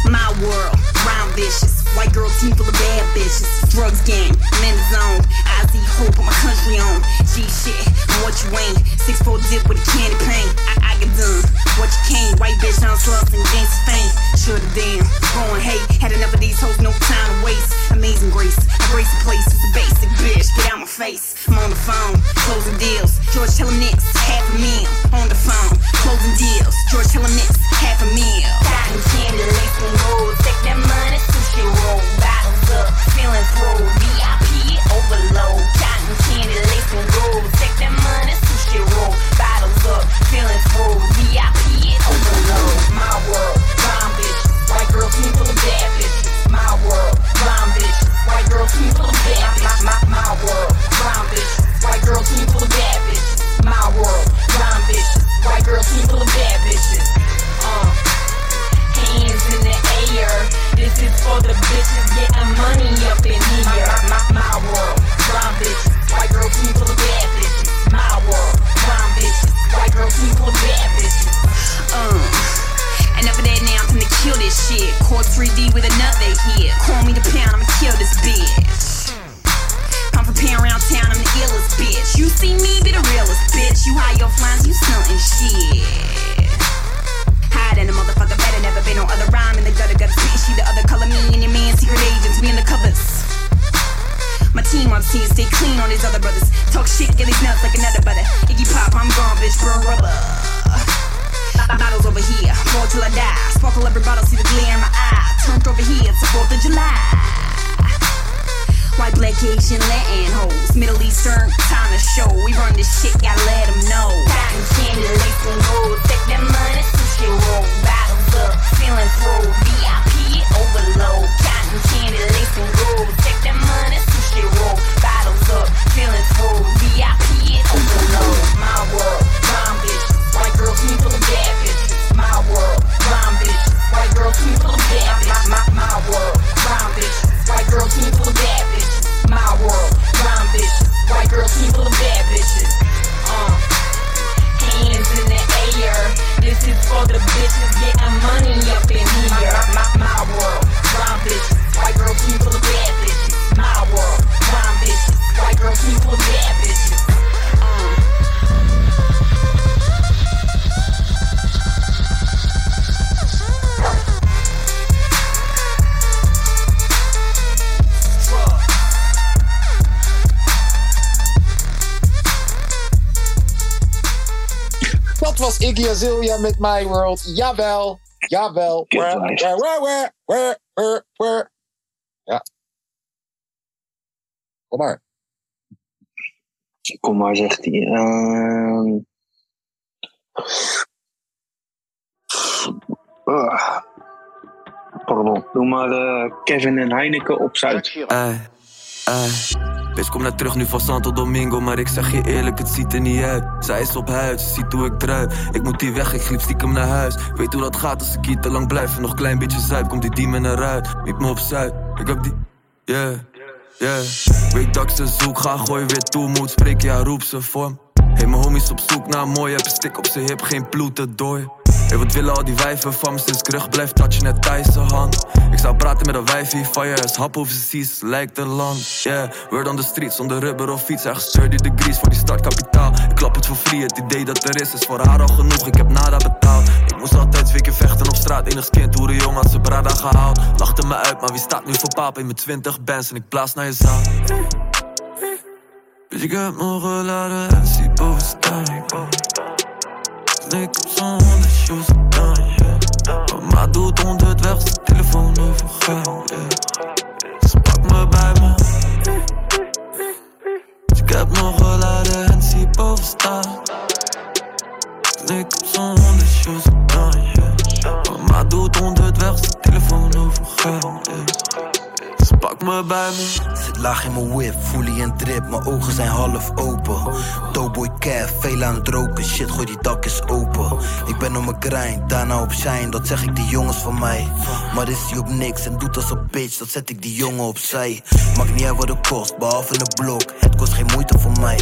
E: My world, round vicious. White girl team full of bad bitches. Drugs gang, men is on. I see hope on my country on. G shit, I'm what you ain't. Six four dip with a candy paint. I, I get done. What you can't. White bitch on slugs and gangsta faint. Shoulda damn. Growing hate. Had enough of these hoes, no time to waste. Amazing grace. I grace the place. It's a basic bitch. Get out my face. I'm on the phone. Closing deals. George tell him next. Half a meal. On the phone. Closing deals. George tell him next. Half a meal. Cotton candy, lace and gold. Take that money, sushi roll. Bottles up, feeling pro. VIP overload. Cotton candy, lace and gold. Take that money, sushi roll. Bottles up, feeling pro. VIP overload. My world, rhyme bitches. White girl team full of bad bitches. My world, rhyme bitches. White girl team full of bad bitches. My, my, my world, rhyme bitches. White girl team full of bad bitches. My world, rhyme bitches. White girl team full of bad bitches. Uh hands in the air. This is for the bitches getting money up in here. My, my, my, my world, blind bitches, white girl team full of bad bitches. My world, blind bitches, white girl team full of bad bitches. Um. Enough of that now, I'm finna kill this shit. Core 3D with another hit. Call me the pound, I'ma kill this bitch. I'm from Pan around town, I'm the illest bitch. You see me, be the realest bitch. You high your flying, you stunting shit. Hide in a motherfucker better, never been no other rhyme in the gutter, gutter bitch. She the other color, me and your man, secret agents, we in the covers. My team on team, stay clean on these other brothers. Talk shit, get these nuts like another butter. Iggy pop, I'm gone, bitch, burn rubber. Bottles over here, more till I die. Sparkle every bottle, see the glare in my eye. Turned over here, it's the 4th of July. White, black, Asian, Latin hoes. Middle Eastern, time to show. We run this shit, gotta let 'em know. Cotton candy, lace and gold. Take that money, sushi roll. Bottles up, feeling full. VIP overload. Cotton candy, lace and gold. Take that money, sushi roll. Bottles up, feeling full. VIP overload. My world, rhyme bitches. White girl, team full of bad bitches. My world, rhyme bitches. White girl, team full of bad bitches. My, my, my world, rhyme bitches. White girl, team full of bad bitches. My world, rhyme bitches. White girl, team full of bad bitches. Uh, hands in the air. This is for the bitches getting money up in here. My, my, my world, rhyme bitches. White girl, team full of bad bitches. My world, rhyme bitches. White girl, team full of bad bitches. Uh.
A: Dat was Iggy Azalea met My World. Jawel, jawel. Where,
B: Kutlijst.
A: where, where, where, where, where, where. Ja. Kom maar.
B: Kom maar, zegt hij. Ehm. Ah. Pardon. Doe maar eh, Kevin en Heineken op Zuid.
F: Ey, ey. Bitch, kom nou terug nu van Santo Domingo, maar ik zeg je eerlijk, het ziet er niet uit. Zij is op huid, ze ziet hoe ik druip. Ik moet hier weg, ik gliep stiekem naar huis. Weet hoe dat gaat als ik hier te lang blijf. Nog klein beetje zuip, komt die demon eruit. Miep me op Zuid, ik heb die... Yeah, yeah. Weet dat ik ze zoek, ga gooi weer toe. Moet spreken, ja roep ze voor me. Hey, mijn homies op zoek naar mooi, heb een stick op zijn hip, geen ploeten dooi. Hey, wat willen al die wijven van me sinds ik terug blijf touchen net Thaise hand? Ik zou praten met een wijfie van je is hap of ze ziet, ze lijkt er land. Yeah, word on the streets, zonder rubber of fiets, echt 30 degrees voor die startkapitaal. Ik klap het voor free, het idee dat er is, is voor haar al genoeg, ik heb nada betaald. Ik moest altijd twee keer vechten op straat, enigst kind, hoe de jongen had zijn brada gehaald. Lachte me uit, maar wie staat nu voor paap in mijn 20 bands en ik blaas naar je zaal. Bitch, ik heb me geladen en zie boven staan. Ik op zonder shoes gedaan, yeah. Mama doet onder het weg, zijn telefoon overgaan, yeah. Ze pakt me bij me. Dus ik heb me geladen en zie boven staan. Ik op zonder Ze pakt me bij me.
G: Zit laag in mijn whip, fully en drip, mijn ogen zijn half open. Doughboy calf, veel aan het roken, shit gooi die dak is open. Ik ben op mijn grind, daarna op shine, dat zeg ik die jongens van mij. Maar is hij op niks en doet als een bitch, dat zet ik die jongen opzij. Maakt niet uit wat het kost, behalve een blok, het kost geen moeite voor mij.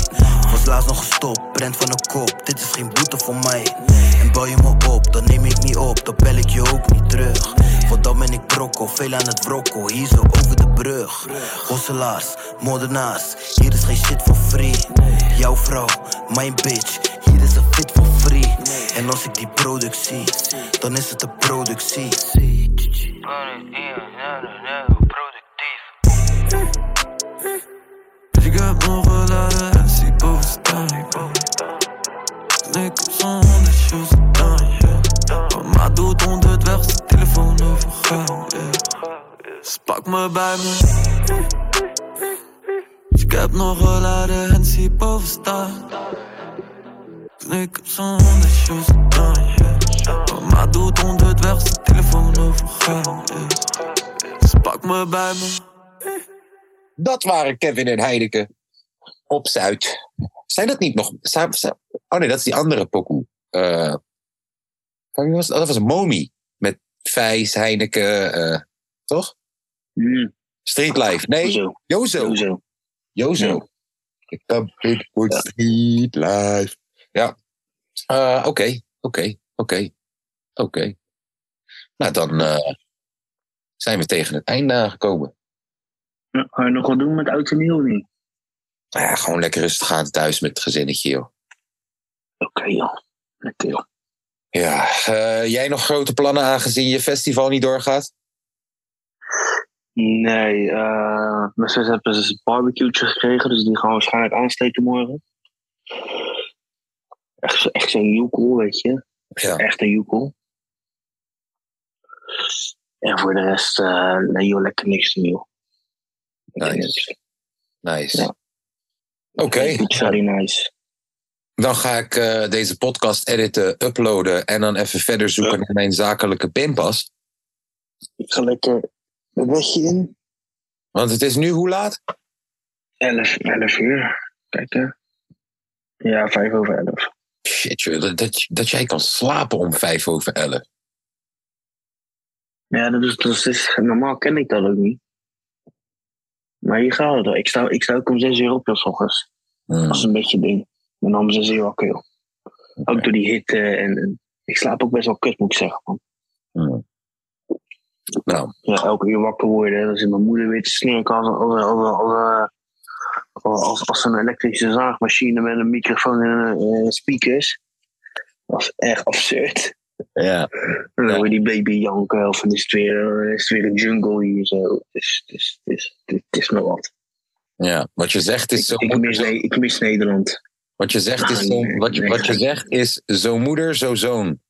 G: Was laatst nog gestopt, brand van de kop, dit is geen boete voor mij. En bel je me op, dan neem ik niet op, dan bel ik je ook niet terug. Want dan ben ik brokkel, veel aan het brokkel, hier zo over de brug. Hosselaars, moordenaars, hier is geen shit voor free. Jouw vrouw, mijn bitch, hier is een fit voor free. En als ik die productie, dan is het een productie.
F: Ik heb ongeladen en zie boven staan. En ik heb zo'n honderd shoes aan. Yeah. Mama doet onderweg zijn telefoon overgaan. Yeah. Ze pakt me bij me. Ik heb nog geladen en zie boven staan. En ik heb zo'n honderd shoes aan. Yeah. Mama doet onderweg zijn telefoon overgaan. Yeah. Ze pakt me bij me.
A: Dat waren Kevin en Heineken op Zuid. Zijn dat niet nog... sa- sa- Oh nee, dat is die andere pokoe. Eh, wie was, het? Oh, dat was Momi. Met Vijs, Heineken, eh, toch?
B: Mm,
A: Streetlife. Nee,
B: zo,
A: Jozo.
B: zo, zo.
A: Jozo.
B: Ja.
A: Ik heb dit voor
B: Ja.
A: Streetlife. Ja. Eh, Oké, oké, oké. Oké. Nou, dan eh, zijn we tegen het einde aangekomen.
B: Ja, Ga je nog wat doen met oud en nieuw of niet?
A: Nou ja, gewoon lekker rustig aan thuis met het gezinnetje, joh.
B: Oké joh. Oké joh.
A: Ja, eh, jij nog grote plannen aangezien je festival niet doorgaat?
B: Nee, eh mijn zus hebben dus een barbecue gekregen, dus die gaan we waarschijnlijk aansteken morgen. Echt, zo- echt zo'n joekel, weet je.
A: Ja.
B: Echt een joekel. En voor de rest, eh, nee joh, lekker niks nieuw. Lekker
A: Nice.
B: niks.
A: Nice.
B: Ja.
A: Oké,
B: It's very nice.
A: dan ga ik eh, deze podcast editen, uploaden en dan even verder zoeken naar mijn zakelijke pinpas.
B: Ik ga lekker een bedje in.
A: Want het is nu hoe laat?
B: 11, 11 uur. Kijk hè. Ja, 5 over 11.
A: Shit, joh, dat, dat, dat jij kan slapen om vijf over elf.
B: Ja, dat is, dat is, normaal ken ik dat ook niet. Maar hier gaat het wel. Ik sta, ik sta ook om 6 uur op, joh, 's ochtends.
A: Hmm.
B: Dat is een beetje het ding. Mijn naam is heel wakker, joh. Ook door die hitte en, en ik slaap ook best wel kut, moet ik zeggen, man.
A: Hmm. Nou.
B: Ja, elke uur wakker worden, dan zit mijn moeder weer te snurken als, als, als, als, als, als, als, als een elektrische zaagmachine met een microfoon en eh, speakers. Dat is echt absurd.
A: Ja.
B: En dan
A: Ja.
B: hoor je die baby janken, of dan is het weer, is het weer een eh, jungle hier zo. Het is, het is, het is, het is me wat.
A: ja, wat je zegt is zo.
B: Ik, ik, mis, Ne- ik mis Nederland.
A: Wat je zegt is
B: Ah,
A: zo,
B: nee,
A: wat je,
B: nee.
A: wat je zegt is zo moeder, zo zoon.